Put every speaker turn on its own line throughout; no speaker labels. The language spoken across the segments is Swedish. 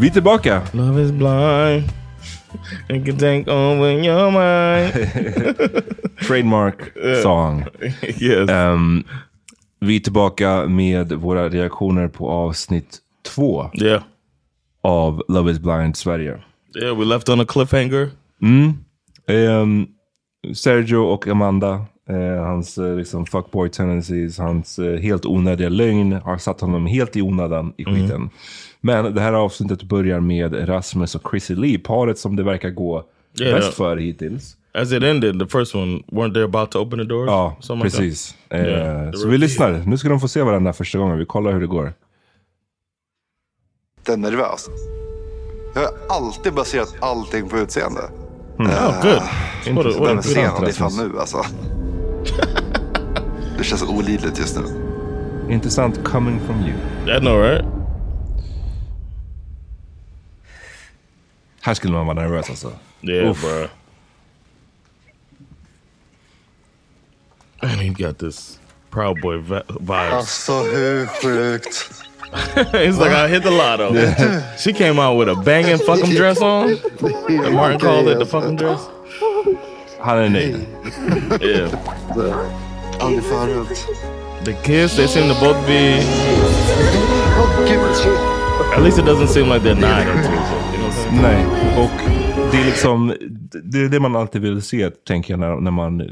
Vi är tillbaka.
Love is blind. It can take over your mind.
Trademark song.
Yes.
Ehm, vi är tillbaka med våra reaktioner på avsnitt två
Yeah.
av Love is blind Sverige.
Yeah, we left on a cliffhanger.
Ehm, Sergio och Amanda, eh, hans eh, liksom, fuckboy tendencies, hans eh, helt onödiga lögn har satt honom helt i onödan i skiten. Men det här avsnittet börjar med Rasmus och Chrissy Lee, paret som det verkar gå
Yeah.
bäst för hittills.
As it ended, the first one, weren't they about to open the doors?
Ja,
Something like that.
Oh, precis. Eh,
Yeah, det
så
var
vi
det.
lyssnar. Nu ska de få se varandra första gången. Vi kollar hur det går.
lite nervös. Jag har alltid baserat allting på utseende.
Oh, good. What a, what
Den
a
här
good
scenen, det är
outfit.
fan nu alltså. Det känns olidligt just nu.
Intressant coming from you.
I know, right?
Här skulle man vara nervös alltså.
Yeah,
Oof.
bro. And he got this Proud Boy vi- vibes.
Alltså hur sjukt.
He's like, I hit the lotto. She came out with a banging fucking dress on. And Martin called it the fucking dress.
Han är nöjd.
Yeah.
Aldrig förut.
The kiss, they seem to both be...
Åh gud.
At least it doesn't seem like they're nine or two. You know what I'm saying?
Nej, och det är liksom det, är det man alltid vill se, tänker jag, när, när man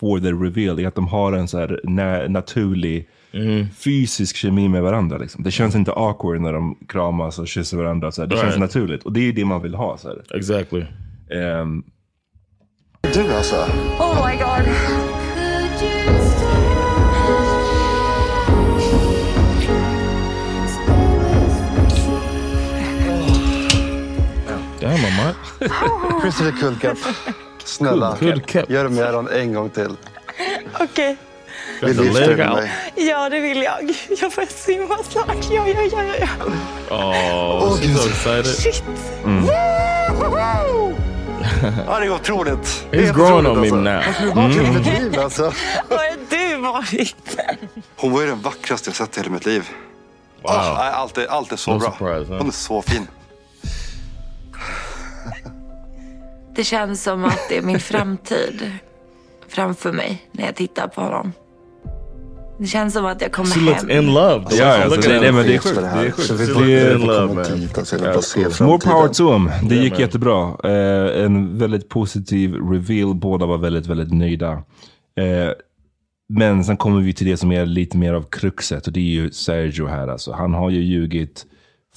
får the reveal. Är att de har en så här na, naturlig
Mm.
fysisk kemi med varandra. Liksom. Det känns inte awkward när de kramas och kysser varandra. Så här. Det
Right.
känns naturligt. Och det är ju det man vill ha. Så här.
Exactly.
Ehm,
Du alltså.
Oh my god.
Damn, I'm right.
Christer Kullkapp. Snälla,
Kullkapp.
gör det med Aron en gång till.
Okej.
Got
Vill
the
du gifta dig
leg
med
out.
mig?
Ja, det vill jag. Jag får simma snart. Ja, ja, ja, ja, ja.
Oh, she's so excited.
Shit.
Mm.
Woho!
Ja, det är otroligt. Det är
He's
helt
growing on me
otroligt,
now. Mm.
alltså. Vad kul med liv alltså.
Var är du varit?
Hon var ju den vackraste jag sett i hela mitt liv. Åh,
Wow.
nej, allt, är, allt är så
No
bra.
surprise, huh?
Hon är så fin.
Det känns som att det är min framtid framför mig när jag tittar på honom. Det känns som att jag kommer
She looks
hem.
in love. The way
Ja,
she's
alltså,
looking
det,
at
nej,
him.
men det är sjukt. Det är
Så vi
sjukt.
får-
Det är,
In love, man.
alltså. Jag vill bara se
More power
framtiden.
to him. Det gick
man.
jättebra. Eh, en väldigt positiv reveal. Båda var väldigt, väldigt nöjda. Eh, men sen kommer vi till det som är lite mer av kruxet. Och det är ju Sergio här alltså. Han har ju ljugit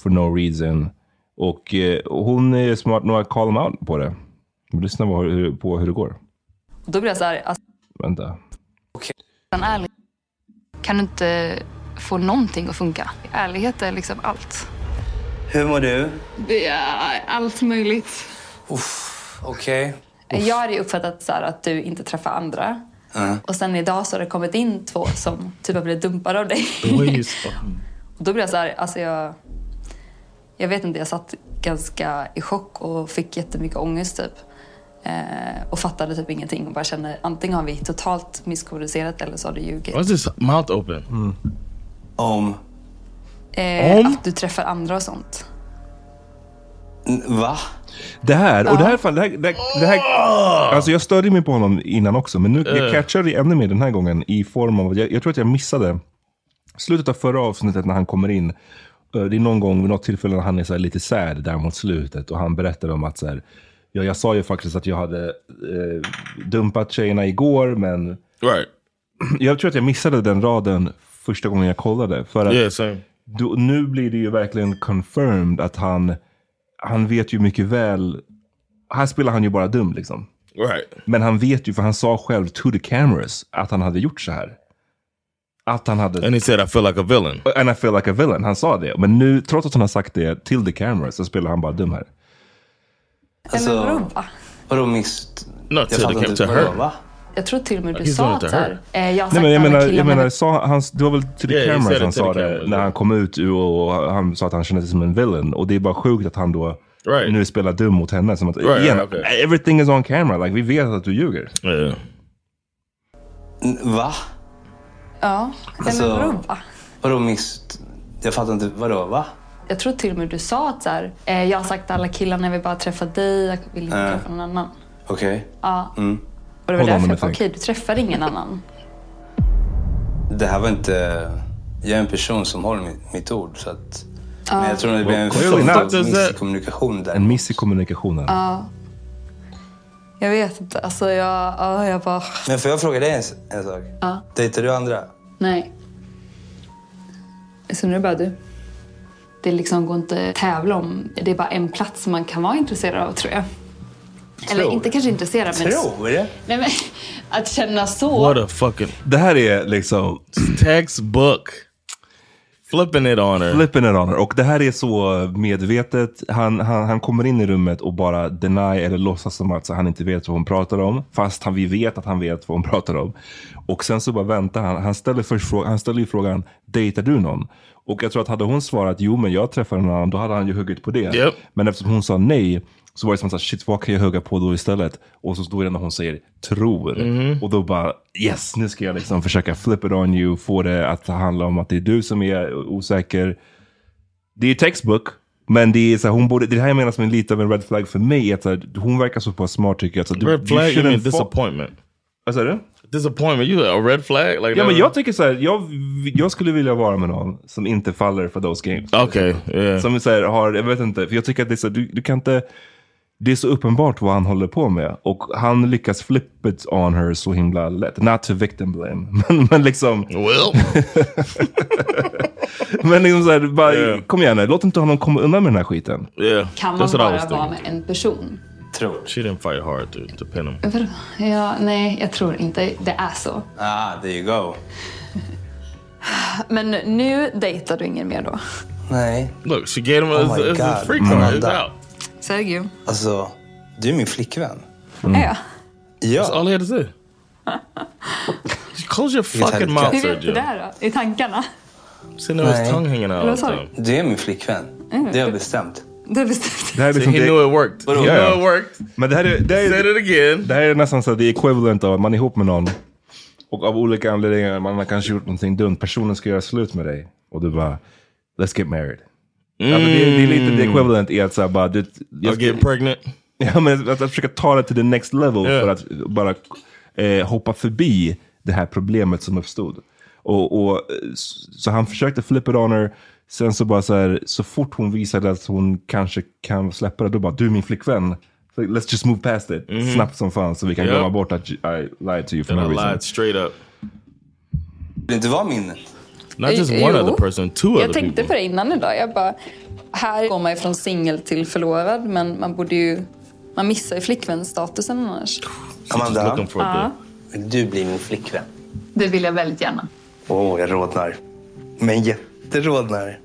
for no reason. Och eh, hon är smart nog att call him out på det. Men Lyssna på hur, på hur det går.
Då blir jag så här, alltså,
Vänta.
utan ärlighet kan du inte få någonting att funka. Ärlighet är liksom allt.
Hur mår du?
Ja, allt möjligt.
Okej.
Jag hade ju uppfattat så här att du inte träffar andra. Och sen idag så har det kommit in två som typ har blivit dumpade av dig.
The way he's-
Och då blir jag så här, alltså jag...
Jag vet inte, jag satt ganska i chock och fick jättemycket ångest typ. Eh, och fattade typ ingenting och bara kände antingen har vi totalt misskommunicerat eller så har du ljugit.
Why is his mouth open?
Om.
Eh,
Om?
Att du träffar andra och sånt.
Va?
Det här, och det här, fan, det här, det här, det här Alltså jag störde mig på honom innan också, men nu jag
Ugh.
catchade det ännu mer den här gången i form av, jag, jag tror att jag missade slutet av förra avsnittet när han kommer in. Eh, Det är någon gång, vid något tillfälle när han är så här lite sad där mot slutet och han berättar om att så här, ja, jag sa ju faktiskt att jag hade eh, dumpat tjejerna igår, men jag tror att jag missade den raden första gången jag kollade. För att
Yeah, same.
då, nu blir det ju verkligen confirmed att han, han vet ju mycket väl. Här spelar han ju bara dum liksom.
Right.
Men han vet ju, för han sa själv to the cameras, att han hade gjort så här. Att han hade...
And he said I feel like a villain.
And I feel like a villain. Han sa det. Men nu, trots att han har sagt det till the cameras, så spelar han bara dum här.
Eller vadå? va?
Alltså, Vadå miss...
Not
jag
till
fattar
the
inte.
cam- to
Vadå,
her.
va?
Jag tror till och med du
He's
sa
doing it
att
to
så här,
her.
eh, jag har
Nej, men jag
sagt det här med
menar,
killar,
jag
men
menar sa, han, det var väl till the
Yeah, he
cameras
said it
han
to the
sa det
cameras,
när han kom ut ur- och han sa att han kände sig som en villain. Och det är bara sjukt att han då nu spelar dum mot henne. Som att,
Right,
igen,
right, okay.
everything is on camera. Like, vi vet att du ljuger.
N- Va?
Ja,
Alltså-
eller vadå? va?
Vadå miss... Jag fattar inte. Vadå, va?
Jag tror till och med du sa att så här, eh, jag har sagt till alla killarna, jag vill bara träffa dig, jag vill inte
Äh.
träffa någon annan.
Okej.
Ja,
Mm.
och det var därför jag bara, okej du träffar ingen annan.
Det här var inte... Jag är en person som håller mitt, mitt ord, så att... Men jag tror att det blev en
Well, clearly not.
stor misskommunikation där.
En miss i kommunikationen.
Ja. Jag vet inte, alltså jag, ja, jag bara,
Men får jag fråga dig en, s- en sak?
ja,
Dejtar du andra?
nej. Så nu är det bara du. Det liksom går inte att tävla om, det är bara en plats som man kan vara intresserad av tror jag. Eller
Tror.
inte kanske intresserad men...
det?
Nej men, att känna så.
What a fucking...
Det här är liksom...
Textbook. Flipping it on her.
Flipping it on her. Och det här är så medvetet. Han, han, han kommer in i rummet och bara deny eller låtsas som att så han inte vet vad hon pratar om. Fast han, vi vet att han vet vad hon pratar om. Och sen så bara väntar han. Han ställer, först frå- han ställer ju frågan, dejtar du någon? Och jag tror att hade hon svarat jo men jag träffar någon annan, då hade han ju huggit på det.
Japp.
Men eftersom hon sa nej, så var det som att shit vad kan jag hugga på då istället? Och så står det när hon säger tror.
Mhm.
Och då bara yes, nu ska jag liksom försöka flip it on you, få det att handla om att det är du som är osäker. Det är textbook. Men det är så här, hon borde, det här jag menar som är lite av en red flag för mig. Att så här, hon verkar så pass smart tycker jag. Att så här, du,
Red
du
flag, you
shouldn't
mean
fall-
disappointment.
Vad sa du?
Disappointment, you a red flag? Like
Ja
that?
men jag tycker så här, jag, jag skulle vilja vara med någon som inte faller för those games.
Okej, yeah.
Som så här, har, jag vet inte, för jag tycker att det är så, här, du, du kan inte, det är så uppenbart vad han håller på med. Och han lyckas flip it on her så himla lätt. Not to victim blame, men, men liksom.
Well.
men liksom så här, bara, kom igen nu, låt inte honom komma undan med den här skiten.
Yeah.
Kan man
That's what I
bara
was
vara
thinking.
med en person?
Tror.
She didn't fight hard to, to pin him.
Vadå? Ja, nej, jag tror inte det är så.
Ah, there you go.
Men nu dejtar du ingen mer då?
Nej.
Look, she gave him a,
Oh my
it's a
God,
free card. It's
Amanda.
out.
Sergio?
Alltså, du är min flickvän.
Mm. Är jag?
Ja.
That's all he had to say. Close your fucking mouth,
Hur vet du
Sergio.
det då? I tankarna?
Sitting there with his
Nej.
tongue hanging out
Eller
all
vad
the
sa
time.
du?
Du är min flickvän.
Mm.
Det har jag bestämt.
Du har bestämt
Det här är
So
liksom
he
det-
knew it worked. He
Vadå?
knew
Ja,
it
ja.
worked.
Men det här är, det här
Said
är,
it again.
det här är nästan så här, the equivalent av att man är ihop med någon. Och av olika anledningar, man har kanske gjort någonting dumt. Personen ska göra slut med dig. Och du bara, let's get married. Alltså det, är- det är lite the equivalent i att så här, bara, du,
I'll get pregnant.
Ja, men att, att försöka ta det till the next level
Ja.
för att bara eh, hoppa förbi det här problemet som uppstod. Och, och, eh, s- så han försökte flip it on her. Sen så bara så här, så fort hon visade att hon kanske kan släppa det, då bara du är min flickvän. So Let's just move past it.
Mhm.
Snabbt som fan så vi kan
Ja.
glömma bort att I lied to you for
And I
no reason.
lied straight up.
Vill inte vara min?
Not just
Jo.
one other person, two
Jag
other
tänkte
people.
på det innan idag. Jag bara, här går man ju från singel till förlovad men man borde ju... Man missar ju flickvänsstatusen annars.
Amanda,
looking for
Ja.
vill du bli min flickvän?
Det vill jag väldigt gärna.
Åh, jag rodnar. Men jätterodnar.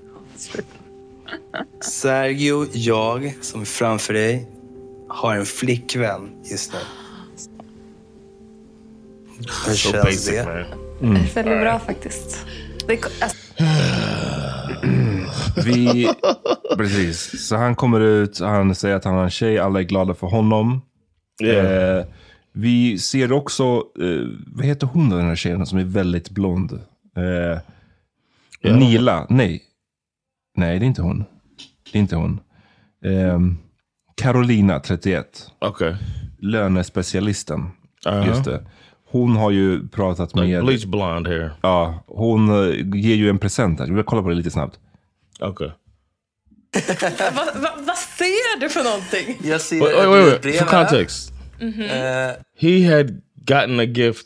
Sergio, jag som är framför dig, har en flickvän just nu. Hur
So
känns
basic,
det?
man.
Det är bra faktiskt. Det, alltså,
Vi, Precis. Så han kommer ut, han säger att han har en tjej, alla är glada för honom.
Yeah.
Eh, vi ser också, eh, vad heter hon då, den här tjejen som är väldigt blond? Eh, Nila, nej. Nej, det är inte hon. Det är inte hon. Ehm, Carolina, 31.
Okay.
Lönespecialisten.
Uh-huh.
Just det. Hon har ju pratat
Like
med...
bleach blonde hair.
Ja, hon eh, ger ju en present här. Vi vill kolla på det lite snabbt.
Okej.
Vad va, vad ser du för någonting?
Jag ser
Wait, wait, wait, wait. For context,
Eh,
he had gotten a gift.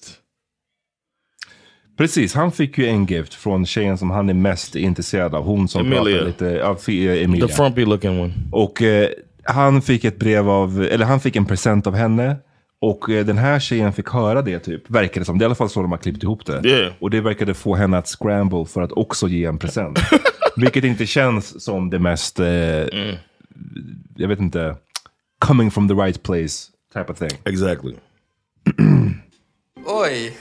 Precis, han fick ju en gift från tjejen som han är mest intresserad av. Hon som
Emilia.
pratar lite... Ja, fi- eh, Emilia.
The frumpy looking one.
Och eh, han fick ett brev av, eller han fick en present av henne. Och eh, den här tjejen fick höra det typ, verkar det som. Det är i alla fall så de har klippt ihop det.
Yeah.
Och det verkade få henne att scramble för att också ge en present. Vilket inte känns som det mest, eh, jag vet inte, coming from the right place type of thing.
Exactly.
Oj!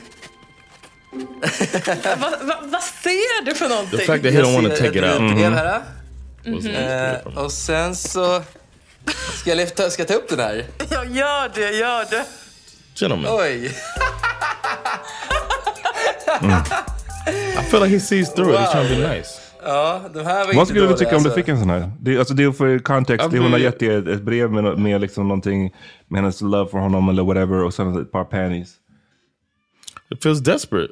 Vad va, vad ser du för någonting?
The fact that he don't want to take it out.
Mm.
Jag ser ett brev här.
Mhm.
Eh, och sen så... Ska jag, lyfta, ska jag ta upp den här?
Ja, gör det, gör det.
Gentlemen,
Oj!
I feel like he sees through it. He's trying to be nice.
Ja, de här var
Vad
inte
skulle du
dåliga,
tycka om du
alltså.
fick en sån här? Det, alltså det är för kontext, det hon har gett dig ett, ett brev med, med liksom någonting, med hennes love för honom eller whatever och sen ett par panties.
It feels desperate.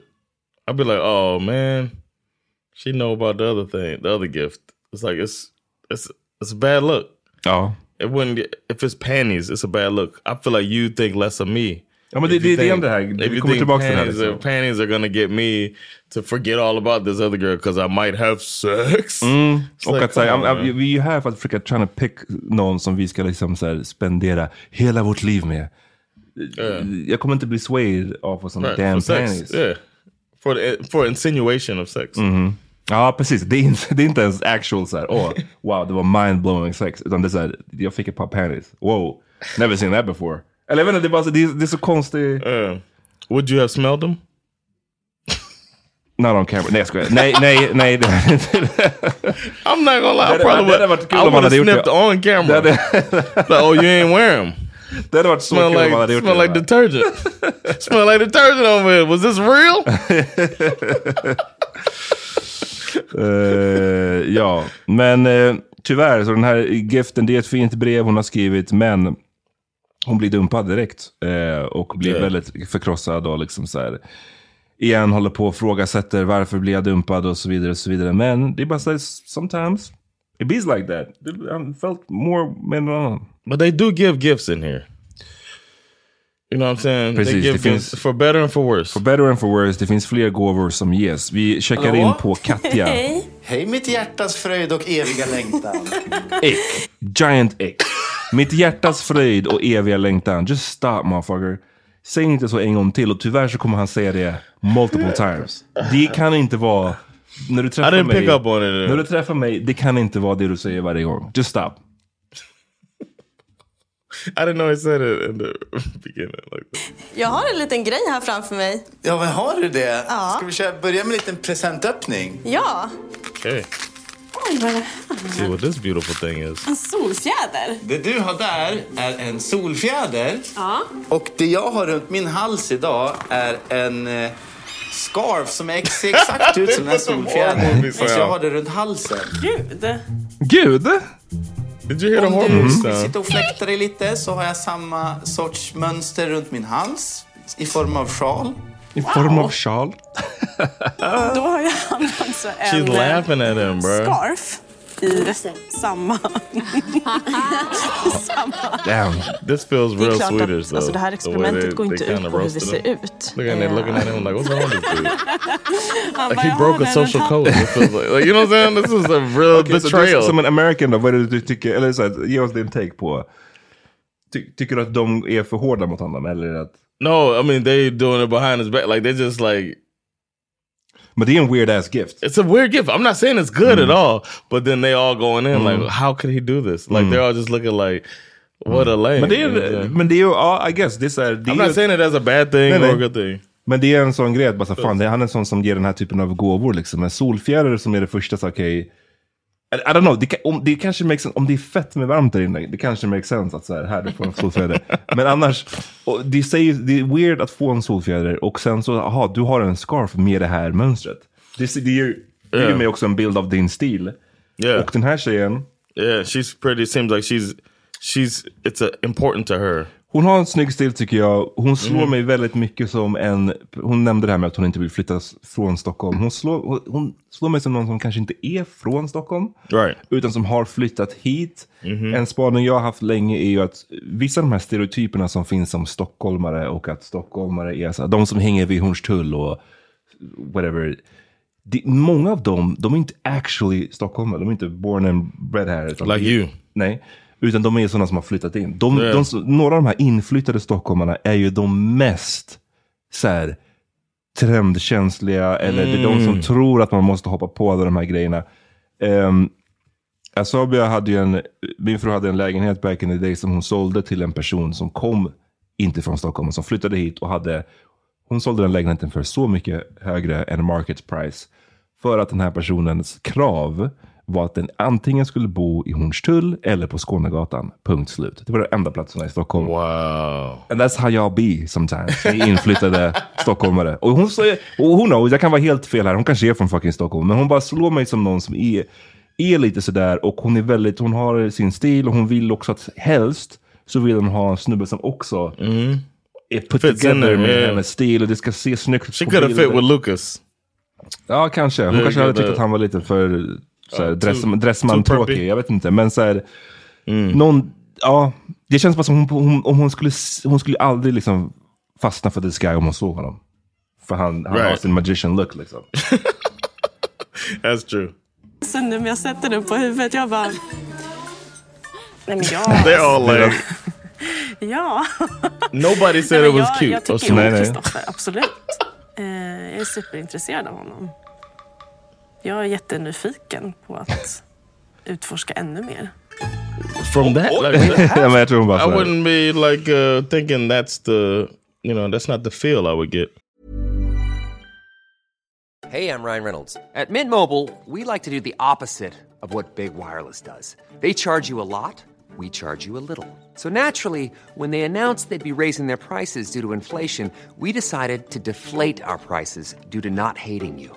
I'd be like, oh man, she know about the other thing, the other gift. It's like it's it's it's a bad look.
Ja.
It wouldn't get, if it's panties, it's a bad look. I feel like you think less of me.
Ja, men
If
det-
you
det- det är ändå det här.
if
Vi
you
kommer
think
tillbaka till det här,
panties,
liksom.
are- panties are gonna get me to forget all about this other girl because I might have sex. Mm.
Och att, så här, am- am- vi är ju här för att försöka tryna pick någon som vi ska liksom, så här, spendera hela vårt liv med. Jag kommer inte bli swayed av vad som
Right, for
damn
sex,
panties. Mm-hmm.
Yeah. For the, for insinuation of sex.
Ja, precis. Det är, inte, det är inte ens actual så här, åh, wow, det var mind-blowing sex. Utan det är så här, jag fick ett par panties. Wow, never seen that before. Eller jag vet inte, det är, bara, så- det är, det är så konstigt.
Uh, would you have smelled them?
Not on camera. Nej, jag skojar. Nej, nej, nej. Det hade inte-
I'm not gonna lie. I
hade-
probably
det
would.
hade varit kul
I
om man
would have
hade gjort det.
sniffed on
det
camera.
hade,
like, oh, you ain't wearing them.
det hade varit så kul
Smell
om
like
man hade gjort
smell like
det.
detergent. smell like detergent over here. Was this real?
Eh, ja, men eh, tyvärr, så den här giften, det är ett fint brev hon har skrivit, men hon blir dumpad direkt. eh, och blir
Ja.
väldigt förkrossad och liksom så här, igen håller på och frågasätter varför blir jag dumpad och så vidare. och så vidare. Men det är bara så här, sometimes it be like that. I felt more uh, med någon annan.
But they do give gifts in here. You know what I'm saying? they
Precis,
give
det
gifts
finns-
for better and for worse.
For better and for worse, det finns fler gåvor som ges. Vi checkar
Hallå?
in på Katja.
Hej mitt hjärtas fröjd och eviga längtan.
Ick. Giant ick. Mitt hjärtas fröjd och eviga längtan. Just stop motherfucker. Säg inte så en gång till och tyvärr så kommer han säga det multiple times. Det kan inte vara... När du
I
träffar
didn't
mig,
pick up on it.
när du träffar mig, det kan inte vara det du säger varje gång. Just stop.
I didn't know he said it in the beginning like that.
Jag har en liten grej här framför mig.
Ja, men har du det?
Ja.
Ska vi köra, börja med en liten presentöppning?
Ja.
Okay.
Oj, vad är det?
See what this beautiful thing is.
En solfjäder.
Det du har där är en solfjäder.
Ja.
Och det jag har runt min hals idag är en eh, scarf som är ex- ser exakt ut som den här solfjädern. Så jag har det runt halsen.
Gud.
Gud!
Did you hear the
Om
hormone
du vill
sound?
sitta och fläkta dig lite så har jag samma sorts mönster runt min hals i form av sjal.
I form av sjal.
Då har ju han också
She's
en eh,
laughing at him, bro.
scarf i samma... samma.
Damn.
This feels
Det är
real
klart
Swedish
att
though.
alltså, det
The
här
way they-
experimentet går
they
inte ut
kinda
på hur vi
roasted him.
ser ut.
Look at him, looking at him like, what's wrong with you?
Han
Like
bara,
he
"Jag
broke
har
a
den
social
här."
code. It feels like, like, you know what I'm saying? This is a real
Okej, så du,
betrayal.
som en American då, vad är det du tycker? Eller så här, ge oss din take på... Ty, tycker du att de är för hårda mot honom? Eller är det att,
no, I mean they doing it behind his back. Like they just like
men det är en weird ass gift.
it's a weird gift. I'm not saying it's good at all, but then they all going in like, how could he do this? Like they're all just looking like, what a lame.
Men det
You know what I'm
är,
saying?
men det är ju, ja, I guess, det är så här, det
I'm
är
not
ju
saying it as a bad thing
Nej, nej.
or a good thing.
Men det är en sån grej att bara, så, fan, det är han är en sån som ger den här typen av gåvor. Liksom. En solfjäder som är det första, så okej, I I don't know, det, ka- om, det kanske makes sense, om det är fett med varmt där inne, det kanske makes sense att så här, här du får en solfjäder. Men annars, och det, säger, det är weird att få en solfjäder och sen så, aha, du har en scarf med det här mönstret. Det, det, ger, det ger
Yeah.
mig också en bild av din stil.
Yeah.
Och den här tjejen,
Yeah, she's pretty. It seems like she's she's it's uh important to her.
Hon har en snygg stil tycker jag. Hon slår
Mm.
mig väldigt mycket som en... Hon nämnde det här med att hon inte vill flyttas från Stockholm. Hon slår, hon- hon slår mig som någon som kanske inte är från Stockholm.
Right. Mm-hmm.
Utan som har flyttat hit. En spaning jag har haft länge är ju att vissa av de här stereotyperna som finns om stockholmare och att stockholmare är så, här, de som hänger vid Hornstull och whatever. Det, många av dem, de är inte actually stockholmare. De är inte born and bred här. utan-
Like you.
Nej. Utan de är sådana som har flyttat in. De,
Yeah.
de, som- några av de här inflyttade stockholmarna är ju de mest så här, trendkänsliga. Eller det är de som
Mm.
tror att man måste hoppa på alla de här grejerna. Um, Asabia hade ju en, min fru hade en lägenhet back in the day som hon sålde till en person som kom inte från Stockholm, men som flyttade hit och hade, hon sålde den lägenheten för så mycket högre än market price. För att den här personens krav var att den antingen skulle bo i Hornstull eller på Skånegatan. Punkt slut. Det var de enda platserna i Stockholm.
Wow.
And that's how y'all be sometimes. Ni inflyttade stockholmare. Och hon säger, och who knows, jag kan vara helt fel här. Hon kanske är från fucking Stockholm. Men hon bara slår mig som någon som är, är lite sådär. Och hon är väldigt, hon har sin stil och hon vill också att helst så vill hon ha en snubbe som också är put
Fits in
together
there,
med
yeah.
hennes stil. Och det ska se snyggt ut
She
på
could have
bilden.
fit with Lucas.
Ja, kanske. Hon
Yeah,
kanske hade
yeah,
tyckt
the-
att han var lite för så här,
Uh,
dress,
too- too preppy.
dressman-tråkig. Jag vet inte. Men så här,
Mm.
någon, ja, det känns bara som hon, hon, om hon, skulle, s- hon skulle aldrig liksom fastna för this guy om hon såg honom. För han, han har
Right.
sin magician look liksom.
That's true.
Så nu när jag sätter den på huvudet, jag bara... Nej men jag...
They all like
Ja.
nobody said it was
jag,
cute. or
jag tycker
something.
ju om Kristoffer, absolut. Eh, jag är superintresserad av honom. Jag är jättenyfiken på att utforska ännu mer.
From that, like,
Yeah, man, true, but-
I wouldn't be like uh, thinking that's the you know that's not the feel I would get.
Hey, I'm Ryan Reynolds. At Mint Mobile, we like to do the opposite of what Big Wireless does. They charge you a lot, we charge you a little. So naturally, when they announced they'd be raising their prices due to inflation, we decided to deflate our prices due to not hating you.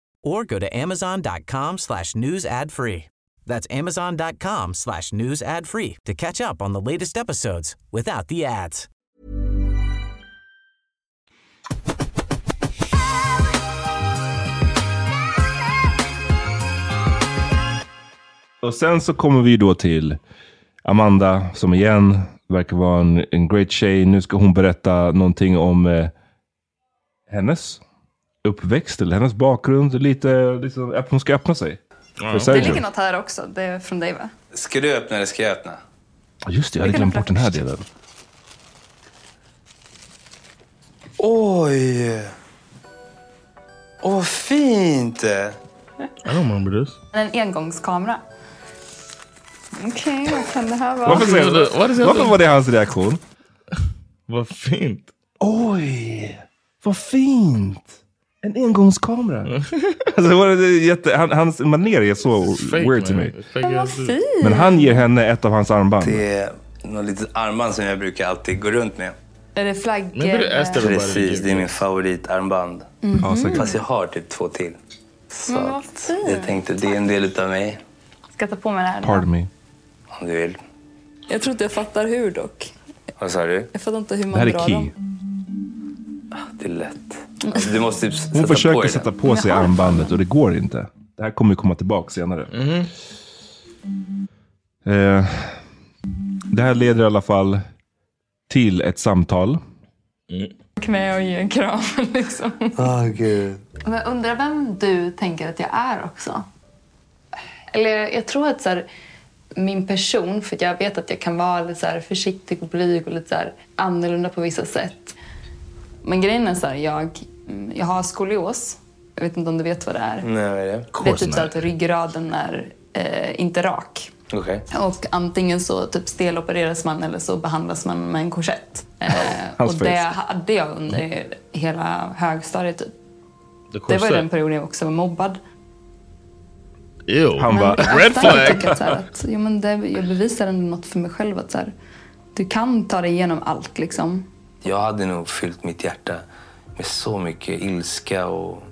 or go to amazon.com slash news ad free. That's amazon.com slash news ad free to catch up on the latest episodes without the ads.
Och sen så kommer vi då till Amanda som igen verkar vara en, en great tjej. Nu ska hon berätta någonting om eh, hennes uppväxt eller hennes bakgrund. Lite, liksom, att hon ska öppna sig. För
Det
Sergio.
ligger något här också. Det är från dig va?
Ska du öppna eller ska jag öppna?
Ja, Just det, jag hade glömt bort den här delen.
Oj! Åh, vad fint!
I don't remember this.
En engångskamera. Okej, vad kan det här vara?
Varför, säger han- varför var det hans reaktion?
Vad fint.
Oj, vad fint! En engångskamera.
Mm.
alltså, det var det jätte, han, hans manér är så
fake,
weird to
man.
me.
Fake Men vad ass dude. fint.
Men han ger henne ett av hans armband.
Det är något eh, litet armband som jag brukar alltid gå runt med.
Är det flaggor?
Precis, det är Mm. min favoritarmband.
Mhm. Ja, säkert.
Fast jag har typ två till.
Men vad
Jag
fint.
tänkte, det är en del av mig.
Ska Mm, jag ta på mig det här?
Pardon me.
Om du vill.
Jag tror inte jag fattar hur dock.
Vad sa du?
Jag fattar inte hur
man Det här är drar key. dem.
Ah, Det är lätt.
Alltså, du måste typ sätta
Hon
på
försöker
dig
sätta
den.
på sig armbandet och det går inte. Det här kommer ju komma tillbaka senare.
Mm-hmm.
Eh, det här leder i alla fall till ett samtal.
Gick med och ge en kram liksom.
Oh, gud.
Men jag undrar vem du tänker att jag är också.
Eller jag tror att så här, min person, för jag vet att jag kan vara lite så här försiktig och blyg och lite så här annorlunda på vissa sätt. Men grejen är så här, jag, jag har skolios. Jag vet inte om du vet vad det är.
Nej, vad är det?
Det är typ så att ryggraden är eh, inte rak.
Okej.
Och antingen så typ stelopereras man eller så behandlas man med en korsett. Eh,
Hans
och det
face.
hade jag under hela högstadiet. Typ. Det var
korsett.
ju den perioden jag också var mobbad.
Ew.
Han
Men
bara,
jag
red
starkt
flag!
tycker att så här att, ja, men det, jag bevisar ändå något för mig själv. Att så här, du kan ta dig igenom allt. Liksom.
Jag hade nog fyllt mitt hjärta med så mycket ilska och,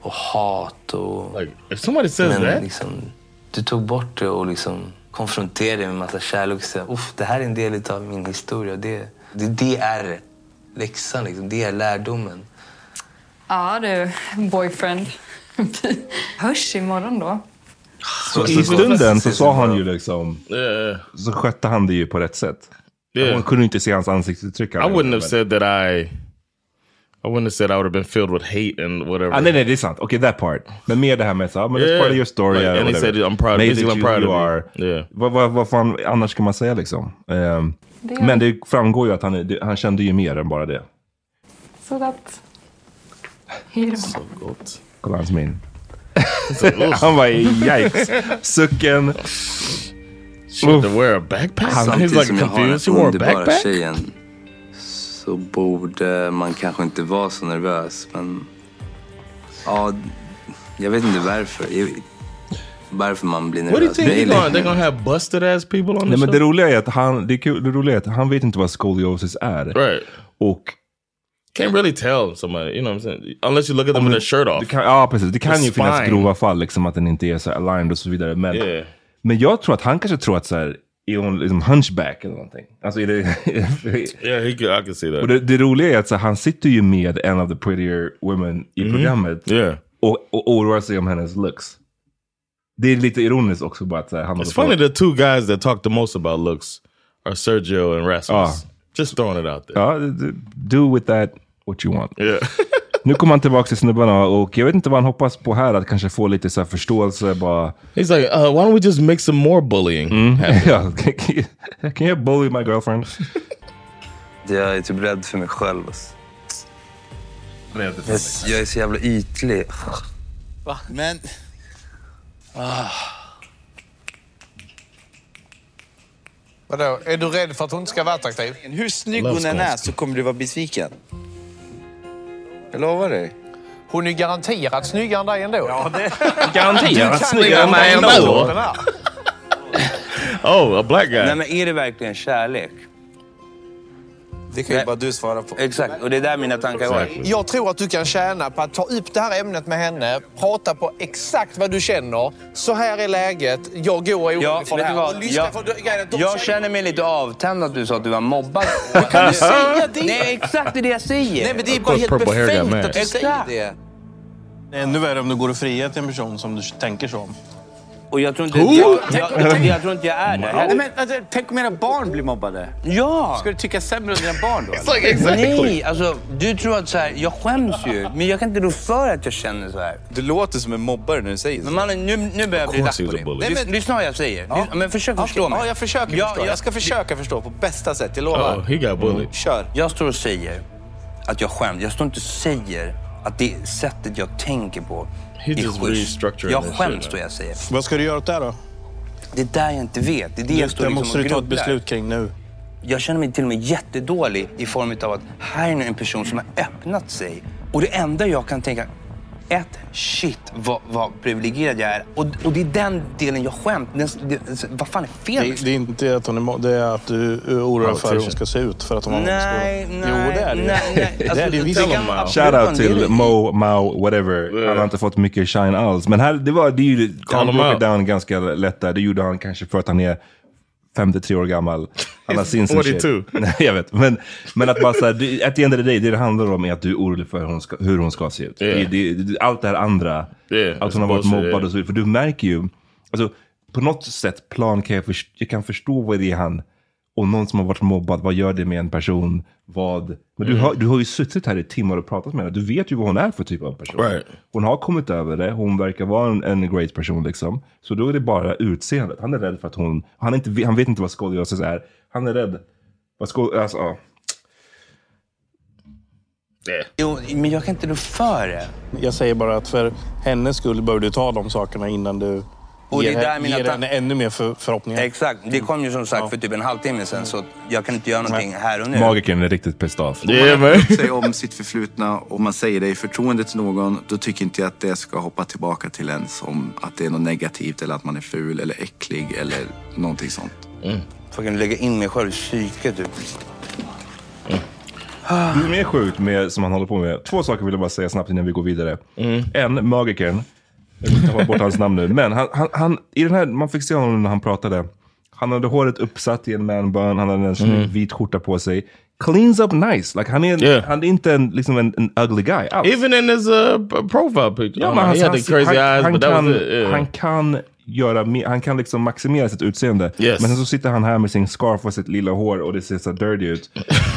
och hat. Och, like,
if somebody says
men
that-
liksom, du tog bort det och liksom konfronterade med en massa kärlek. Och sa, Uff, det här är en del av min historia. Det, det, det är läxan, liksom. det är lärdomen.
Ja du, boyfriend. Vi hörs imorgon då.
Så i stunden så sa han ju liksom... Så skötte han det ju på rätt sätt.
Yeah.
Hon kunde inte se hans ansiktsuttryck.
I wouldn't have said that I. I wouldn't have said I would have been filled with hate and whatever.
Ah, nej, nej, det är sant. Okej, that part. Men mer det här med så, ah, men
Yeah.
that's part of your story.
Like,
or
and he
whatever.
said, I'm proud of
Made
you,
it
I'm
you-
proud
you
of you.
are. Vad, vad, vad fan annars kan man säga liksom? Ehm,
Det-
Men det framgår ju att han, är- det- han kände ju mer än bara det.
Så gott. Hej då. Så
gott.
Kolla hans min.
Så gott.
han var yikes. Sucken.
Shit, to wear a backpack? He's like confused. You wore a backpack?
tjejen så borde man kanske inte vara så nervös. Men ja, jag vet inte varför. Jag- Varför man blir
What
nervös.
do you think
Det är
they're gonna,
liksom-
they're gonna have busted ass people on the
Nej, men
show?
det roliga är att han, det, är kul, det roliga är att han vet inte vad skoliosis är.
Right.
Och
Can't really tell somebody, you know what I'm saying? Unless you look at them with their shirt off.
Ja, precis. Det kan
The
ju finnas
spine.
grova fall, liksom att den inte är så här aligned och så vidare. Men,
Yeah.
men jag tror att han kanske tror att så här, är hon liksom hunchback eller någonting? Alltså är det...
Yeah, he could, I could see that.
och det, det roliga är att så här, han sitter ju med en av the prettier women i
Mhm.
programmet.
Yeah.
Och, och oroar sig om hennes looks. Det är lite ironiskt också bara att så här, han
It's
håller på-
funny the two guys that talk the most about looks are Sergio and Rasmus.
Ah.
Just throwing it out there.
Ja, d- d- do with that what you want.
Yeah.
nu kommer han tillbaka till snubbarna och jag vet inte vad han hoppas på här, att kanske få lite så här förståelse bara.
He's like, uh, why don't we just make some more bullying?
ja, can, you, can you bully my girlfriend?
Jag är typ rädd för mig själv. alltså. Jag, jag är så jävla ytlig.
Va? Men... Ah.
Vadå, är du rädd för att hon inte ska vara attraktiv?
Hur snygg
Love
hon än är
skånsk.
så kommer du vara besviken. Jag lovar dig.
Hon är garanterat snyggare än dig ändå. Ja, det...
Garanterat
snyggare än mig ändå. Oh, a black guy.
Nej, men är det verkligen kärlek?
Det kan ju bara du svara på.
Exakt, och det är där mina tankar går.
Jag tror att du kan tjäna på att ta upp det här ämnet med henne, prata på exakt vad du känner. Så här är läget, jag går orolig
Ja,
för det
vet du
här.
vad?
Och lyssna
Jag,
för de- grejen är att de
jag
tjejerna-
känner mig lite avtänd att du sa att du var mobbad.
Kan du säga det?
Nej, exakt det är det jag säger.
Nej, men det är
Of
bara
course,
helt
purple hair guy
befängt
man.
att du säger
Exakt.
det. Det är ännu värre om du går och friar till en person som du tänker så om.
Och jag tror inte
Who?
jag, jag,
Tänk-
jag,
tänk-
jag tror inte jag är det
Nej, men,
heller.
alltså, tänk om era barn blir mobbade.
Ja!
Ska du tycka sämre om dina barn då? eller?
Nej, alltså du tror att så här, jag skäms ju, men jag kan inte rå för att jag känner så här.
Du låter som en mobbare när du säger så.
Men mannen, nu, nu börjar jag bli lack på dig. Lys- Lyssna vad jag säger.
Ja.
Lys- Men försök
Ja,
förstå mig.
Ja, jag försöker
Ja,
förstå.
ja,
Jag ska försöka förstå på bästa sätt, jag lovar.
Oh, he got bullied.
Kör.
Jag står och säger att jag skäms. Jag står inte och säger att det sättet jag tänker på
He
är
just
schysst.
restructuring
Jag
this shit,
skäms då
man.
jag säger.
Vad ska du göra åt det då?
Det är där jag inte vet. Det är det jag står
Det
liksom
måste
och
du ta ett
grubblar.
beslut kring nu.
Jag känner mig till och med jättedålig i form av att här är nu en person som har öppnat sig. Och det enda jag kan tänka, ett, shit vad, vad privilegierad jag är. Och, och det är den delen jag skäms. Den, det, vad fan är
Det,
fel?
det är inte det att hon är mo- det är att du är orolig för hur hon
Politician.
ska se ut för att hon har
Nej,
mobbningsskador.
nej,
Jo, det är det ju.
nej, nej.
Det
Alltså,
är det ju visst.
tell him, Mao.
Shoutout till Mo, Mao, whatever. Han har inte fått mycket shine alls. Men här, det var, det är ju, han
him
broke
out.
it down ganska lätt där. Det gjorde han kanske för att han är 53 år gammal. Han har sins and shit.
42.
Nej, jag vet. Men, men att bara såhär, det- at the end of the day, det det handlar om är att du är orolig för hur hon ska, hur hon ska se ut.
Yeah.
Det, det, det, allt det här andra,
Yeah,
att hon har varit
bullshit,
mobbad
yeah.
och så vidare. För du märker ju, alltså, på något sätt plan kan jag, först- jag kan förstå vad det är han Och någon som har varit mobbad, vad gör det med en person? Vad? Men du,
Mm.
har, du har ju suttit här i timmar och pratat med henne. Du vet ju vad hon är för typ av person.
Right.
Hon har kommit över det. Hon verkar vara en, en great person liksom. Så då är det bara utseendet. Han är rädd för att hon... Han, är inte, han vet inte vad skådespelare är. Han är rädd. Vad skål, alltså, ja.
Jo, men jag kan inte rå för det. Jag säger bara att för hennes skull bör du ta de sakerna innan du
Och det
ger,
är där mina
ger
tan-
henne ännu mer för, förhoppningar.
Exakt. Det kom ju som sagt för typ en halvtimme sedan så jag kan inte göra någonting här och nu.
Magikern är riktigt pissed off.
Eh. Det är
Om man
mig.
öppnar sig om sitt förflutna och man säger det i förtroende till någon, då tycker inte jag att det ska hoppa tillbaka till en som att det är något negativt eller att man är ful eller äcklig eller någonting sånt.
Mm. Får jag lägga in mig själv i typ. psyket du.
Det är mer sjukt med, som han håller på med. Två saker vill jag bara säga snabbt innan vi går vidare.
Mm.
En, magikern. Jag vill inte ta bort hans namn nu. Men han, han, han, i den här, man fick se honom när han pratade. Han hade håret uppsatt i en manbun. Han hade en snygg
Mm.
vit skjorta på sig. Cleans up nice. Like, han, är en, han är inte en, liksom en, en ugly guy. alls.
Even in his uh, p- profile picture.
Ja,
I'm
men han,
like, Oh, he
han,
had the crazy
han,
eyes,
han,
but that
kan,
was it. Yeah.
han kan göra mer- han kan liksom maximera sitt utseende.
Yes.
Men sen så sitter han här med sin scarf och sitt lilla hår och det ser så dirty ut.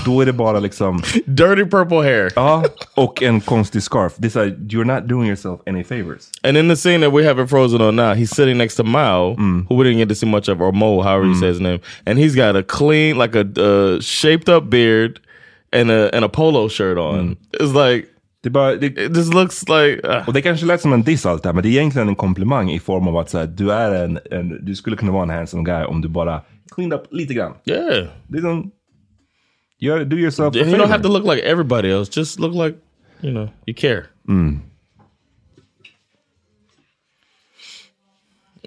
Då är det bara liksom...
dirty purple hair.
Ja, och en konstig scarf. Det är så här, you're not doing yourself any favors.
And in the scene that we have it frozen on now, he's sitting next to Mao, who we didn't get to see much of, or Mo, however you say his name. And he's got a clean, like a uh, shaped up beard and a and a polo shirt on. It's like
det bara, det,
it just looks like. Uh,
Och det kanske lät som en diss allt det här, men det är egentligen en komplimang i form av att så här, du är en, en, du skulle kunna vara en handsome guy om du bara cleaned up lite grann.
yeah,
Liksom, gör, do yourself a
you
favor.
don't have to look like everybody else. Just look like you know you care.
Mm.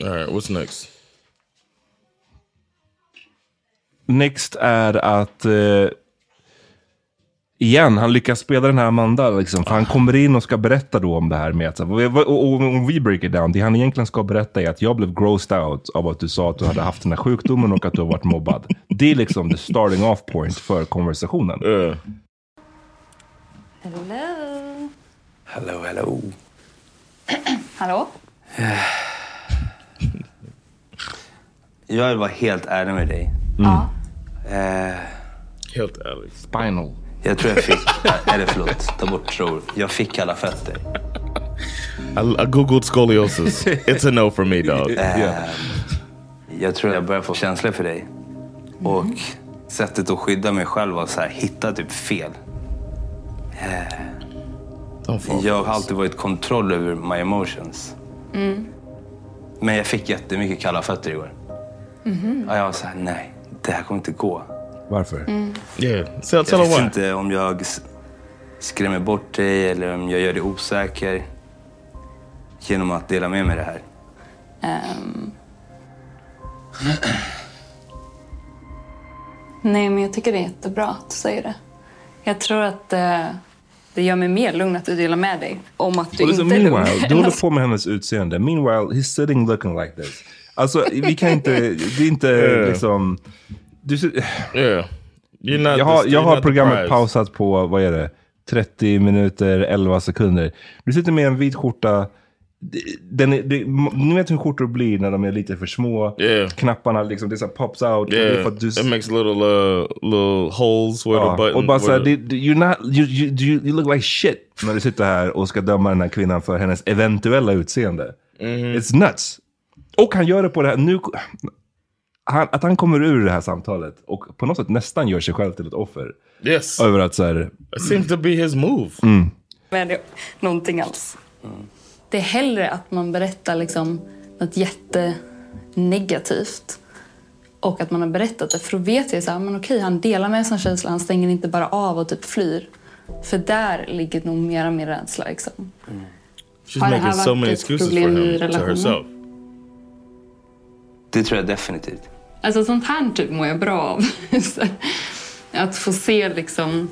All right, what's next?
Next är att eh, igen, han lyckas spela den här Amanda. Liksom, för han kommer in och ska berätta då om det här med att, så här, vad- vad- och, och, om vi break it down, det han egentligen ska berätta är att jag blev grossed out av att du sa att du hade haft den här sjukdomen och att du har varit mobbad. Det är liksom the starting off point för konversationen.
Hello.
Hello, hello.
Hallå?
Jag vill vara helt ärlig med dig.
Ja.
Helt ärlig.
Spinal.
Jag tror jag fick... Eller förlåt, ta bort tror. Jag fick kalla fötter.
I, I googled scoliosis. it's a no for me, dog.
Eh, Jag tror jag börjar få känslor för dig. Och sättet att skydda mig själv var så här, hitta typ fel. Eh, Jag har alltid varit kontroll över my emotions.
Mm.
Men jag fick jättemycket kalla fötter igår.
Mhm.
Och jag var så här, nej, det här kommer inte gå.
Varför?
Mm.
Yeah.
jag
tell her
vet
why.
inte om jag s- skrämmer bort dig eller om jag gör dig osäker genom att dela med mig det här.
Ehm. Nej, men jag tycker det är jättebra att du säger det. Jag tror att eh, det gör mig mer lugn att du delar med dig om att du
Och det är
inte
så,
är lugn.
meanwhile, du håller på med hennes utseende. Meanwhile, he's sitting looking like this. Alltså, vi kan inte, det är inte
Yeah.
liksom... Du, ser-
Yeah. You're not
jag har,
the-
jag
you're
har
not the prize.
programmet pausat på, vad är det, 30 minuter, 11 sekunder. Du sitter med en vit skjorta. Den är, det, ni vet hur skjortor blir när de är lite för små.
Yeah.
Knapparna liksom, det så här pops out.
Yeah,
Det är för att du,
it makes little uh, little holes where
Ja,
the button.
och bara
where
såhär,
the-
you're not, you, you, you, you look like shit. När du sitter här och ska döma den här kvinnan för hennes eventuella utseende.
Mm-hmm.
It's nuts. Och han gör det på det här, nu, han, att han kommer ur det här samtalet och på något sätt nästan gör sig själv till ett offer.
Yes.
Över att såhär,
It seems to be his move.
Oh. mm,
med det, någonting alls. Det är hellre att man berättar liksom något jättenegativt och att man har berättat det. För då vet jag så här, men okej, han delar med sig av känslan. Han stänger inte bara av och typ flyr. För där ligger nog mera min rädsla. Liksom.
She's
Har det
making
här
so
varit
many
ett
excuses for
problem i
him to
relationen?
herself.
Det tror jag definitivt.
Alltså sånt här typ mår jag bra av. Så här, att få se liksom...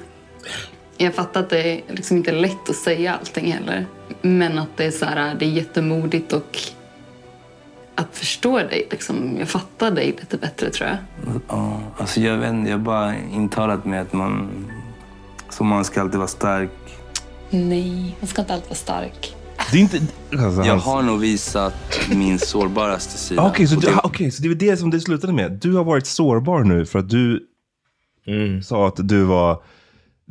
Jag fattar att det är liksom inte lätt att säga allting heller. Men att det är så här, det är jättemodigt och att förstå dig. Liksom, jag fattar dig lite bättre tror jag.
Ja, alltså jag vet inte, jag har bara intalat mig att man... Som man ska alltid vara stark.
Nej, man ska inte alltid vara stark.
Det är inte... Alltså,
Jag
hans-
har nog visat min sårbaraste sida.
Okej, så,
Och
du,
det-
ah, okej, så det är väl det som det slutade med. Du har varit sårbar nu för att du
Mm.
sa att du var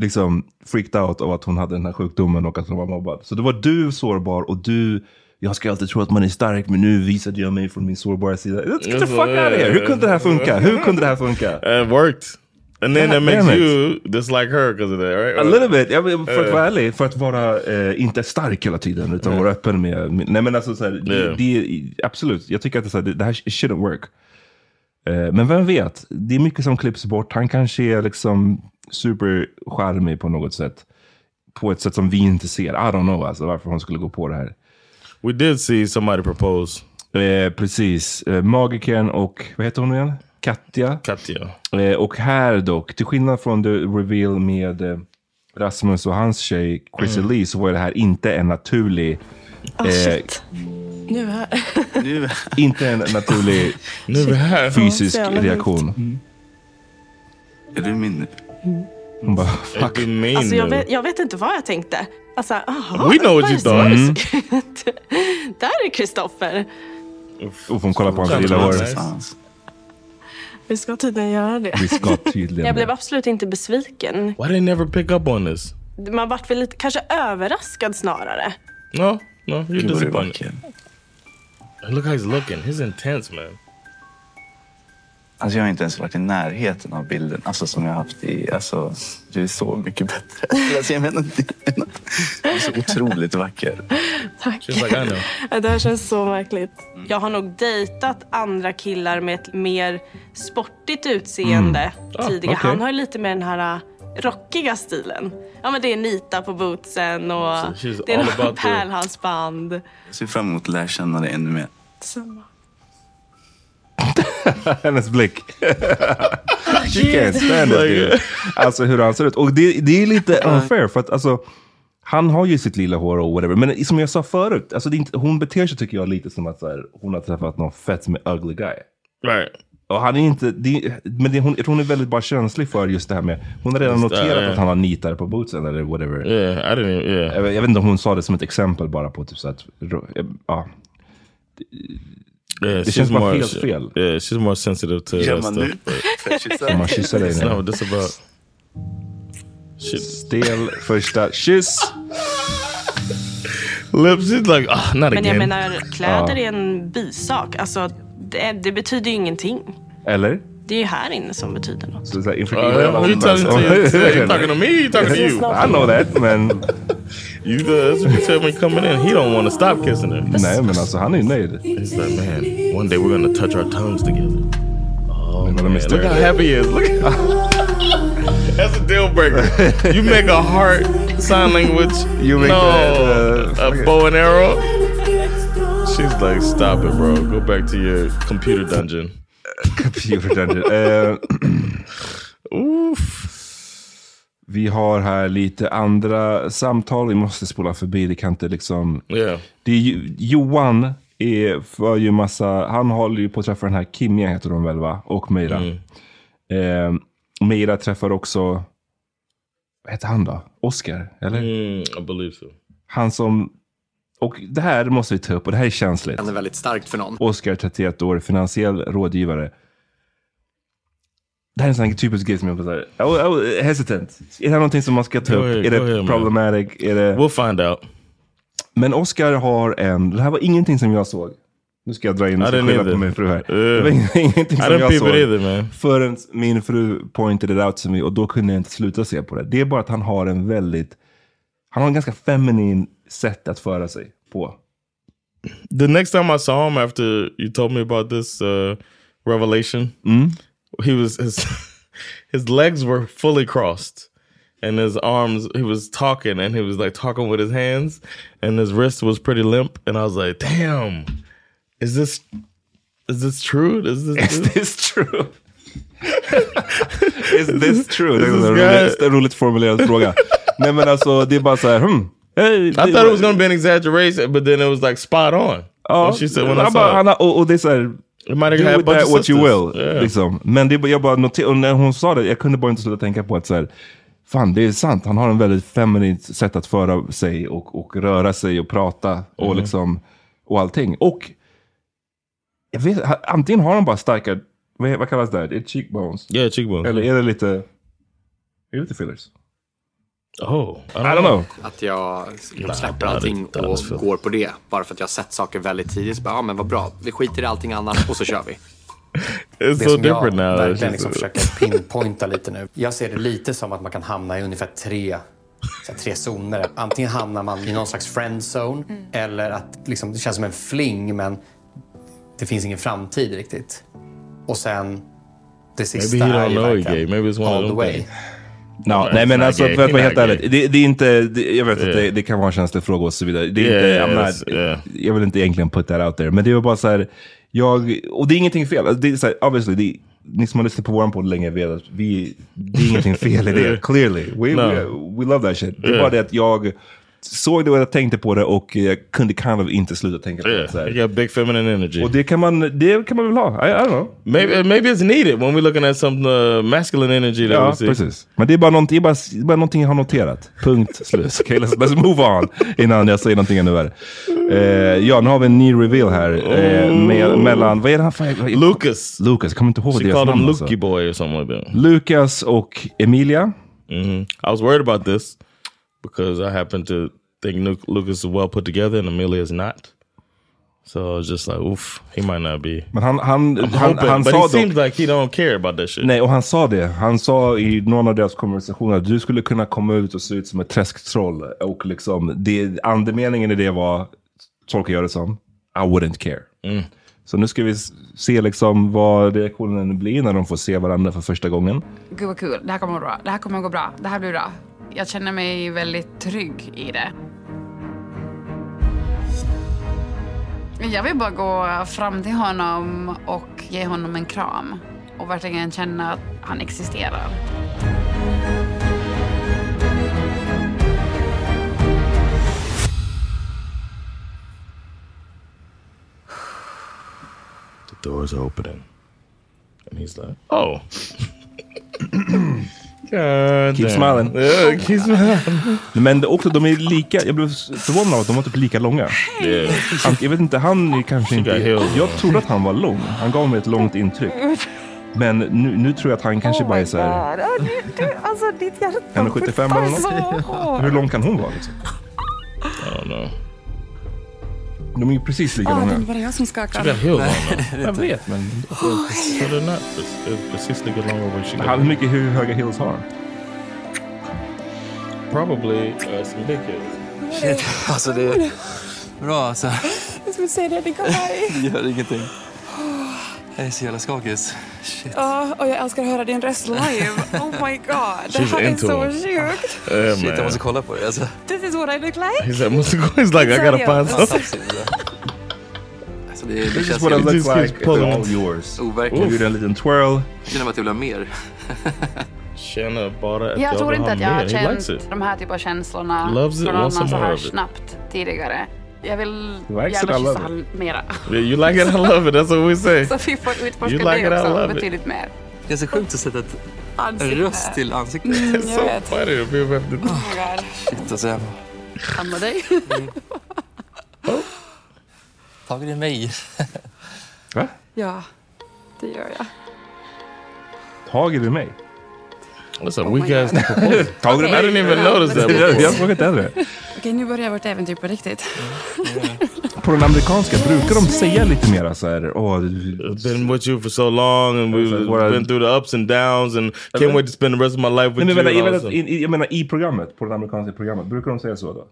liksom freaked out av att hon hade den här sjukdomen och att hon var mobbad. Så då var du sårbar och du, jag ska alltid tro att man är stark men nu visade jag mig från min sårbara sida. Get the fuck out of here! Hur kunde det här funka? Hur kunde det här funka?
It worked. And then
God
that makes
damn it.
you dislike her because of that, right? Uh,
A little bit. Ja, men för att
Eh.
vara ärlig, för att vara eh, inte stark hela tiden utan
Mm.
vara öppen med... med nej men alltså, så här,
Yeah.
det, det, absolut, jag tycker att det, så här, det, det här shouldn't work. Eh, men vem vet, det är mycket som klipps bort. Han kanske är liksom supercharmig på något sätt. På ett sätt som vi inte ser. I don't know alltså, varför hon skulle gå på det här.
We did see somebody propose.
Eh, precis. Eh, Magikern och, vad heter hon igen? Katja.
Katja.
Eh, och här dock, till skillnad från the reveal med eh, Rasmus och hans tjej Chrissy
Mm.
Lee så var det här inte en naturlig...
Ah,
eh,
shit. Nu här.
inte en naturlig
Nu är vi här.
fysisk
Ja, så jävla
reaktion.
Mm.
Är du min?
Hon bara, fuck.
Alltså, jag, vet, jag vet inte vad jag tänkte. Alltså, aha,
We know what you
där är-
thought.
där är Kristoffer.
Och hon kollar på hans lilla hår.
alltså.
Vi ska tydligen göra det.
Vi ska
Jag
tydligen...
blev absolut inte besviken.
Why they never pick up on this?
Man vart väl lite, kanske överraskad snarare.
No, no, you're
He would've
disappointed. Look how he's looking. He's intense man.
Alltså jag har inte ens varit i närheten av bilden alltså, som jag har haft i... Alltså, du är så mycket bättre. Alltså, jag menar inte... Du är så otroligt vacker.
Tack.
She's like, I know.
Ja, Det här känns så märkligt. Jag har nog dejtat andra killar med ett mer sportigt utseende
Mm. Ah,
tidigare.
okej.
Han har ju lite mer den här äh, rockiga stilen. Ja, men det är nita på bootsen och
So she's
det är
all about
något
the-
pärlhalsband.
Jag ser fram emot att lära känna dig ännu mer.
Samma.
Hennes blick. She can't
Shit.
stand it. dude. Alltså hur han ser ut. Och det, det är lite unfair för att alltså, han har ju sitt lilla hår och whatever. Men som jag sa förut, alltså, det är inte, hon beter sig tycker jag lite som att så här, hon har träffat någon fett med ugly guy.
Right.
Och han är inte, det, men det, hon, jag tror hon är väldigt bara känslig för just det här med, hon har redan
Just det,
noterat
ja.
att han har nitar på bootsen eller whatever.
Yeah, I didn't even,
Jag, vet- jag vet inte om hon sa det som ett exempel bara på typ så att, ja.
Yeah,
det
she's
känns bara
more,
helt
she-
fel.
Yeah, she's more sensitive to
Yeah, man,
that stuff.
dude.
but-
Om man kysser dig
It's
nu.
not what this about.
Stel första kyss.
Lips, she's like, ah, not
Men jag
again.
menar, kläder
Ja.
är en bisak. Alltså, det, det betyder ju ingenting.
Eller?
Det är ju här inne som betyder något.
Så, så här, inför Alltså.
Oh, yeah,
alla
who you talking to?
andra, så-
You talking to me, you talking to you?
I know that, men...
You, uh, that's what you said when coming in. He don't want to stop kissing her.
Nej, men alltså han är ju nöjd.
He's like, man, one day we're gonna touch our tongues together. Oh, man,
me stare
look how
at it.
happy he is. Look That's a deal breaker. You make a heart sign language.
You make
no,
that, uh,
a bow and arrow. She's like, stop it, bro. Go back to your computer dungeon.
Computer dungeon. Eh, Vi har här lite andra samtal. Vi måste spola förbi. Det kan inte liksom...
Yeah.
Det är ju, Johan är för ju massa... Han håller ju på att träffa den här Kimia, heter hon väl va? Och Meira. Eh, Meira träffar också... Vad heter han då? Oscar? Eller?
Mm, I believe so.
Han som... Och det här måste vi ta upp och det här är känsligt.
Han är väldigt starkt för någon.
Oscar, 31 år, finansiell rådgivare. Det här är en sån här typisk grej som jag bara såhär, oh, oh, hesitant. Är det här någonting som man ska ta
Go
upp?
ahead,
är
go ahead,
det
man.
problematic? Är det...
We'll find out.
Men Oscar har en, det här var ingenting som jag såg. Nu ska jag dra in
I
och
didn't
skylla
either.
på min fru här.
Yeah.
Det var ing- ingenting
I
som
didn't
jag
peep
såg.
it either, man.
Förrän min fru pointed it out to me och då kunde jag inte sluta se på det. Det är bara att han har en väldigt, han har en ganska feminin sätt att föra sig på.
the next time I saw him after you told me about this uh, revelation, he was his his legs were fully crossed and his arms. He was talking and he was like talking with his hands, and his wrist was pretty limp. And I was like, "Damn, is this is this true? Is this is
this true?" Is this true? Det är
This
en rolig-
is good.
det är en roligt formulerad fråga. Nej men alltså det är bara så här, hmm. Hey,
I thought it was gonna be an exaggeration, but then it was like spot on.
Ja,
When she said when I
han
saw
bara,
it.
han har, och, och det är så här,
might have
do
had a
with
bunch
that
of
what you
sisters.
will.
Yeah.
Liksom. Men det, jag bara noterade, och när hon sa det, jag kunde bara inte sluta tänka på att så här, Fan, det är sant. Han har en väldigt feminint sätt att föra sig och, och röra sig och prata och
Mhm.
liksom och allting. Och jag vet, ha- antingen har han bara starka, vad, vad kallas det? här? Det är cheekbones.
Yeah, cheekbones.
Eller är det lite, är det lite fillers?
Oh,
I don't know.
Att jag liksom släpper
det-
allting
det
och går på det. Bara för att jag har sett saker väldigt tidigt. Så bara, ja men vad bra. Vi skiter i allting annat och så kör vi.
It's
det
so
som jag
different now. It's just-
verkligen liksom försöker pinpointa lite nu. Jag ser det lite som att man kan hamna i ungefär tre, så här, tre zoner. Antingen hamnar man i någon slags friendzone eller att liksom, det känns som en fling men det finns ingen framtid riktigt. Och sen det sista
Maybe he
är
don't
ju
know he
verkligen
gay.
um,
Maybe it's one
all
of
the
them
way.
things.
Ja,
Nej,
nej men
not
alltså
gay.
för att vara
Not
helt ärlig,
gay.
det, det är inte, det, jag vet att
Yeah.
det, det kan vara en känslig fråga och så vidare. Det är
Yeah,
inte,
yeah,
I'm
that's-
not, Jag vill inte egentligen put that out there, men det var bara så här, jag, och det är ingenting fel. Alltså, det är så här, obviously, det, ni som har lyssnat på våran podd länge vet att vi, det är ingenting fel i det, clearly. We,
No.
we, we love that shit. Det är
Yeah.
bara det att jag såg det och jag tänkte på det och jag kunde kind of inte sluta tänka på det. Så
You
här.
got big feminine energy.
Och det kan man, det kan man väl ha, I, I don't know.
Maybe maybe it's needed when we're looking at some uh, masculine energy that
Ja,
we see.
precis. Men det är bara någonting, det är bara, det är bara någonting jag har noterat. Punkt slut. Okej, let's, let's move on. Innan jag säger någonting ännu värre. Eh, ja, nu har vi en ny reveal här. Eh, med, mellan, vad är det han för... Lucas,
Lucas.
jag kommer inte ihåg
She
deras
called him
namn.
Lukey
Alltså.
Boy or something like that.
Lucas och Emilia.
Mhm. I was worried about this because I happen to think Nu- Lucas is well put together and Amelia is not. So I was just like, oof, he might not be.
Men han, han,
I'm
han,
hoping,
han,
but
sa
he
dock...
seems like he don't care about that shit.
Nej, och han sa det. Han sa i någon av deras konversationer att du skulle kunna komma ut och se ut som ett träsktroll. Och liksom, det, andemeningen i det var, tolkar jag det som, I wouldn't care.
Mm.
Så nu ska vi s- se liksom vad reaktionen blir när de får se varandra för första gången.
Gud vad kul, det här kommer att gå bra. Det här kommer att gå bra. Det här blir bra. Jag känner mig väldigt trygg i det. Jag vill bara gå fram till honom och ge honom en kram och verkligen känna att han existerar.
The doors are opening. And he's like, oh. God
Keep
damn.
smiling.
Yeah, keep smiling.
Men det- också, de är lika, jag blev förvånad av att de var typ lika långa. Han, jag vet inte, han är kanske inte... Jag trodde att han var lång. Han gav mig ett långt intryck. Men nu, nu tror jag att han kanske bara är så här...
alltså ditt hjärta.
1,75 eller något. Hur lång kan hon vara? Liksom?
I don't know.
De är ju precis lika långa.
var det jag som skakade.
She got heels on though.
Jag vet, men...
So they're not. It's, it's precisely good longer what she
How- Hur mycket hur höga heels har han?
Probably uh, some big heels.
Shit,
alltså det... Bra alltså.
Jag skulle säga det, det gav mig.
Det gör ingenting. Jag är så jävla skakis. Shit.
Ja, och jag älskar att höra din röst live. Oh my god, det här är så sjukt.
Yeah,
Shit, jag
man.
måste kolla på det alltså.
This is what I look like.
He's like, "Must go." He's like, I gotta find something.
Alltså, det, det
This is
känns
what I
helt-
look like, it's all yours.
Overkligt.
Jag gjorde en liten twirl.
Jag känner bara att jag vill ha mer.
Känner bara att
Jag tror
vill
inte
ha
att jag har
mer. He likes it.
känt de här typen av känslorna
Loves it,
från
wants
någon så
some more
här
of it.
snabbt tidigare. Jag vill
Likes it, I
gärna
love
kyssa
it.
honom mera.
Yeah, you like it, I love it. That's what we say.
Så vi får utforska
You like it, I
det
love
också
it.
betydligt mer.
Det är så sjukt att sätta ett en
Ansikte.
röst till ansiktet.
Mm, jag So vet.
funny to people have to
Oh my god.
Shit alltså. jag-
Amma dig.
Tager du mig?
Ja, det gör jag.
Tager du mig?
Listen, we guys.
Tager du mig?
I didn't even notice that before.
Alltså, Jag frågade inte heller det.
Okej, nu börjar vårt äventyr på riktigt.
På den amerikanska brukar de säga lite mera så här... Åh,
I've been with you for so long and we've been through the ups and downs and can't wait to spend the rest of my life with
Nej, men
you.
jag, menar, jag,
and all
menar,
this
att-
stuff.
i- jag menar i programmet, på det amerikanska programmet, brukar de säga så då?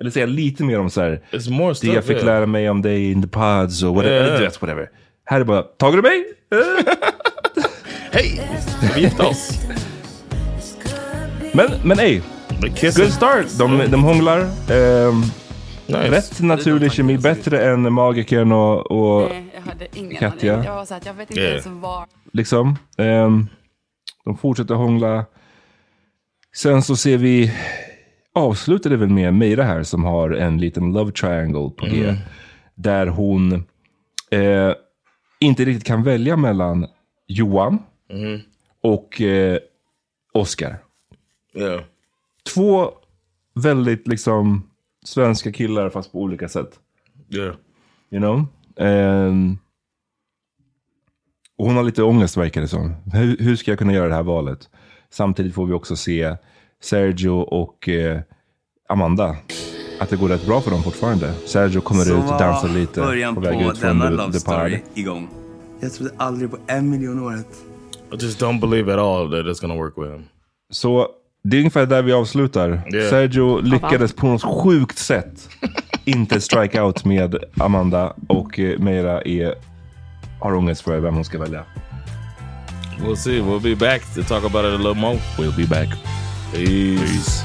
Eller säga lite mer om så här, det
stuff,
jag fick
yeah.
lära mig om dig in the pods och whatever.
Yeah,
Eller du
yeah.
vet, whatever. Här är bara, tager du mig?
Hej! Vi gifte oss.
Men, men ej. Good start. De, de hånglar. Ehm,
Nice.
Rätt naturlig kemi. Bättre än magikern och, och
Nej, jag hade ingen
Katja.
aning. Jag var så att jag vet inte
Yeah.
ens var.
liksom. Ehm, de fortsätter hångla. Sen så ser vi, avslutar det väl med Meira här som har en liten love triangle på G.
Mm.
Där hon eh, inte riktigt kan välja mellan Johan
Mhm.
och eh, Oscar.
Yeah.
Två väldigt liksom svenska killar fast på olika sätt.
Yeah.
You know? Ehm, och hon har lite ångest verkar det som. Hur, hur ska jag kunna göra det här valet? Samtidigt får vi också se Sergio och eh, Amanda. Att det går rätt bra för dem fortfarande. Sergio kommer
Så
ut och
var
dansar lite.
början
väg
på
ut från
denna
The-
love
The
story
Parade.
igång. Jag trodde aldrig på en miljon år att...
I just don't believe at all that it's gonna work with him.
Så det är ungefär där vi avslutar.
Yeah.
Sergio lyckades
Pappa.
på något sjukt sätt inte strike out med Amanda och eh, Meira är, har ångest för vem hon ska välja.
We'll see. We'll be back to talk about it a little more. We'll be back. Peace.